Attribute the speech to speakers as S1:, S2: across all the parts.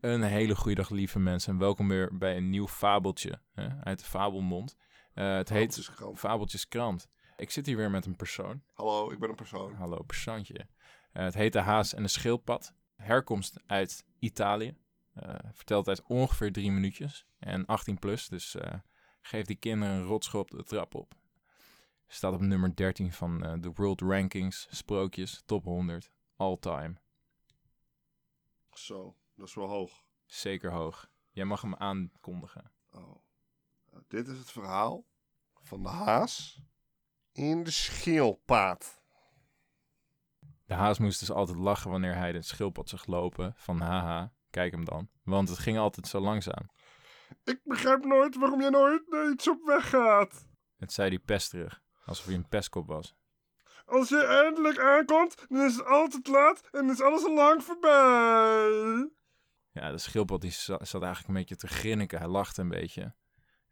S1: Een hele goede dag, lieve mensen. En welkom weer bij een nieuw fabeltje hè, uit de fabelmond. Eh, het heet
S2: Fabeltjeskrant.
S1: Fabeltjeskrant. Ik zit hier weer met een persoon.
S2: Hallo, ik ben een persoon.
S1: Hallo, persoontje. Eh, het heet De Haas en de Schildpad. Herkomst uit Italië. Eh vertelt uit ongeveer drie minuutjes. En 18 plus, dus eh, geef die kinderen een rotschop de trap op. Staat op nummer 13 van eh, de World Rankings, Sprookjes, Top 100, All Time.
S2: Zo, dat is wel hoog.
S1: Zeker hoog. Jij mag hem aankondigen.
S2: Oh. Nou, dit is het verhaal van de haas in de schildpaad.
S1: De haas moest dus altijd lachen wanneer hij het schildpad zag lopen. Van haha, kijk hem dan. Want het ging altijd zo langzaam.
S2: Ik begrijp nooit waarom je nooit naar iets op weg gaat.
S1: Het zei die pesterig, alsof hij een pestkop was.
S2: Als je eindelijk aankomt, dan is het altijd laat en is alles al lang voorbij.
S1: Ja, de schildpad die za- zat eigenlijk een beetje te grinniken. Hij lachte een beetje.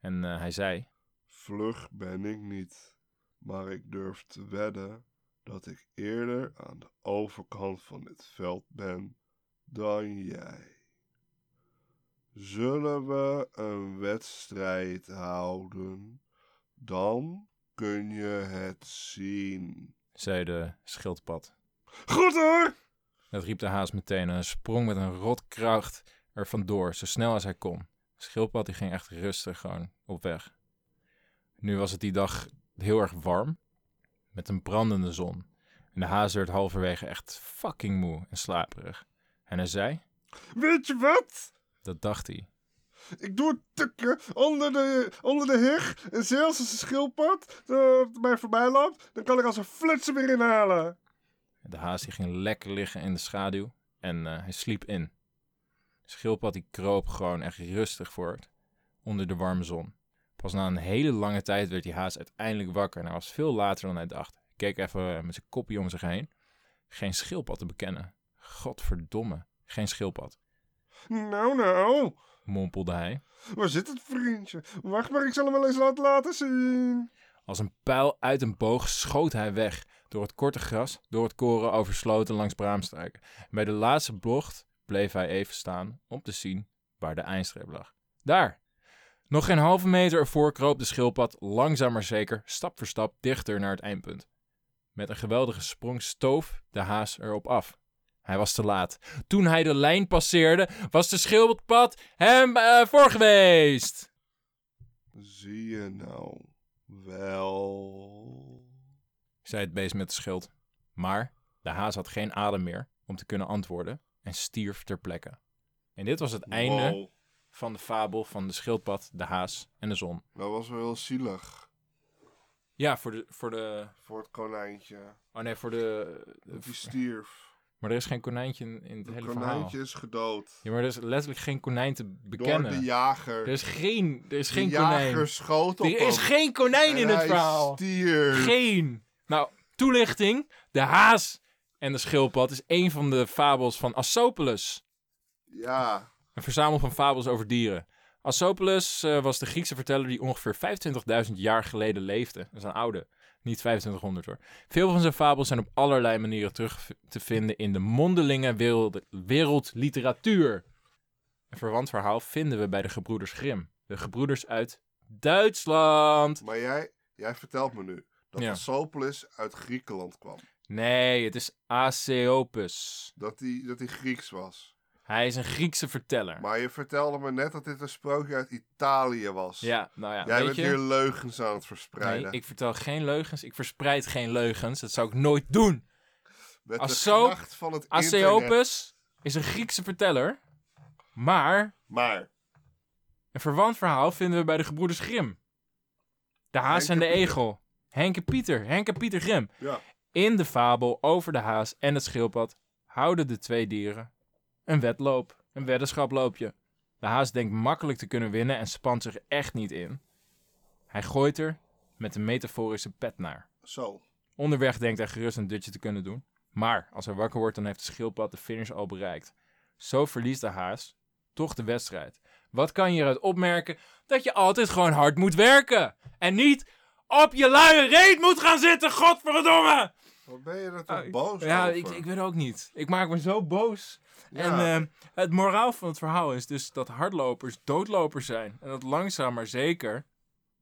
S1: En eh, hij zei...
S2: Vlug ben ik niet, maar ik durf te wedden dat ik eerder aan de overkant van dit veld ben dan jij. Zullen we een wedstrijd houden? Dan kun je het zien.
S1: Zei de schildpad.
S2: Goed hoor!
S1: Dat riep de haas meteen en hij sprong met een rotkracht er vandoor, zo snel als hij kon. De schildpad die ging echt rustig gewoon op weg. Nu was het die dag heel erg warm, met een brandende zon. En de haas werd halverwege echt fucking moe en slaperig. En hij zei,
S2: Weet je wat?
S1: dat dacht hij.
S2: Ik doe het tukken onder de, onder de heg en zelfs als een schildpad eh, mij voorbij loopt, dan kan ik als een flitser weer inhalen.
S1: De haas die ging lekker liggen in de schaduw en eh, hij sliep in. De schildpad die kroop gewoon echt rustig voort onder de warme zon. Pas na een hele lange tijd werd die haas uiteindelijk wakker en hij was veel later dan hij dacht. Hij keek even eh, met zijn kopje om zich heen. Geen schildpad te bekennen. Godverdomme, geen schildpad,
S2: Nou, nou.
S1: mompelde hij.
S2: Waar zit het vriendje? Wacht maar, ik zal hem wel eens laten laten zien.
S1: Als een pijl uit een boog schoot hij weg. Door het korte gras, door het koren, over sloten langs braamstruiken. En bij de laatste bocht bleef hij even staan om te zien waar de eindstreep lag. Daar! Nog geen halve meter ervoor kroop de schildpad langzaam maar zeker, stap voor stap, dichter naar het eindpunt. Met een geweldige sprong stoof de haas erop af. Hij was te laat. Toen hij de lijn passeerde, was de schildpad hem eh, voor geweest.
S2: Zie je nou wel.
S1: zei het beest met de schild. Maar de haas had geen adem meer om te kunnen antwoorden en stierf ter plekke. En dit was het einde
S2: Wow,
S1: van de fabel van de schildpad, de haas en de zon.
S2: dat was wel heel zielig
S1: Ja, voor de. Voor de
S2: voor het konijntje.
S1: oh nee, voor de.
S2: Dat die stierf.
S1: Maar er is geen konijntje in, in het
S2: Het
S1: hele
S2: konijntje
S1: verhaal.
S2: is gedood.
S1: Ja, maar er is letterlijk geen konijn te
S2: Door
S1: bekennen.
S2: de
S1: er
S2: jager.
S1: is geen, er is
S2: De
S1: geen
S2: jager
S1: konijn.
S2: schoot op
S1: Er is
S2: hem.
S1: geen konijn
S2: En
S1: in het
S2: hij
S1: verhaal.
S2: stierf.
S1: Geen. Nou, toelichting. De haas en de schildpad is een van de fabels van Asopelus.
S2: Ja,
S1: Een verzamel van fabels over dieren. Asopelus eh, was de Griekse verteller die ongeveer 25.000 jaar geleden leefde. Dat is een oude, niet 2500 hoor. Veel van zijn fabels zijn op allerlei manieren terug te vinden in de mondelinge wereld, wereldliteratuur. Een verwant verhaal vinden we bij de gebroeders Grimm. De gebroeders uit Duitsland.
S2: maar jij, jij vertelt me nu dat
S1: Ja.
S2: Sopolis uit Griekenland kwam.
S1: Nee, het is Aseopus.
S2: Dat hij dat die Grieks was.
S1: Hij is een Griekse verteller.
S2: Maar je vertelde me net dat dit een sprookje uit Italië was.
S1: Ja, nou ja,
S2: Jij
S1: weet
S2: bent
S1: je?
S2: weer leugens aan het verspreiden.
S1: Nee, ik vertel geen leugens. Ik verspreid geen leugens. Dat zou ik nooit doen.
S2: Met
S1: Als
S2: de
S1: zo-
S2: kracht van het internet.
S1: Aseopus is een Griekse verteller. Maar
S2: Maar
S1: een verwant verhaal vinden we bij de gebroeders Grim. De haas
S2: Henk
S1: en
S2: en
S1: de
S2: Pieter.
S1: egel. Henk en Pieter. Henk en Pieter Grim.
S2: ja,
S1: In de fabel over de haas en het schildpad houden de twee dieren een wedloop, een weddenschaploopje. De haas denkt makkelijk te kunnen winnen en spant zich echt niet in. Hij gooit er met een metaforische pet naar.
S2: zo.
S1: Onderweg denkt hij gerust een dutje te kunnen doen. Maar als hij wakker wordt, dan heeft de schildpad de finish al bereikt. Zo verliest de haas toch de wedstrijd. Wat kan je hieruit opmerken? Dat je altijd gewoon hard moet werken. En niet op je luie reet moet gaan zitten, godverdomme!
S2: Waar ben je er toch
S1: Ah, ik-
S2: boos
S1: Ja,
S2: over?
S1: ik, ik weet ook niet. Ik maak me zo boos. En
S2: Ja.
S1: ehm, het moraal van het verhaal is dus dat hardlopers doodlopers zijn. En dat langzaam maar zeker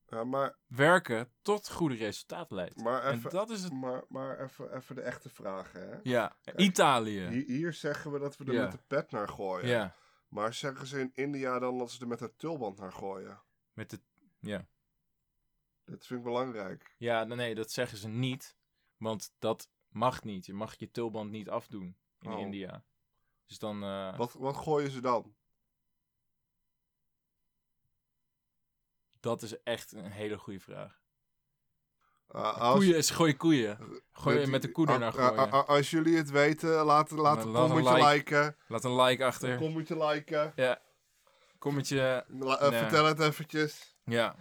S2: Ja, maar, werken.
S1: werken tot goede resultaat leidt.
S2: Maar
S1: en
S2: even-
S1: dat is het.
S2: Maar, maar even, even de echte vraag, hè?
S1: Ja, Italië.
S2: Hier, hier zeggen we dat we er
S1: Ja.
S2: met de pet naar gooien.
S1: Ja,
S2: Maar zeggen ze in India dan dat ze er met een tulband naar gooien?
S1: met de, ja.
S2: Dat vind ik belangrijk.
S1: ja, nee, dat zeggen ze niet. Want dat mag niet. Je mag je tulband niet afdoen in
S2: Oh.
S1: India. Dus dan. eh,
S2: Wat, wat gooien ze dan?
S1: dat is echt een hele goede vraag.
S2: Ah, als-
S1: Koeien is gooi koeien. Gooi
S2: dat-
S1: met de koe
S2: ah,
S1: naar
S2: ah,
S1: gooien.
S2: ah, ah, Als jullie het weten, laat, laat
S1: Maar
S2: een
S1: laat een
S2: kommetje
S1: like.
S2: liken.
S1: Laat een like
S2: Een
S1: achter.
S2: kommetje liken.
S1: Ja. Kommetje.
S2: La- eh,
S1: Nee.
S2: Vertel het eventjes.
S1: Ja.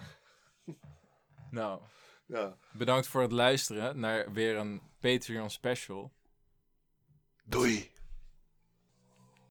S1: Nou,
S2: Ja.
S1: bedankt voor het luisteren naar weer een Patreon special.
S2: Doei!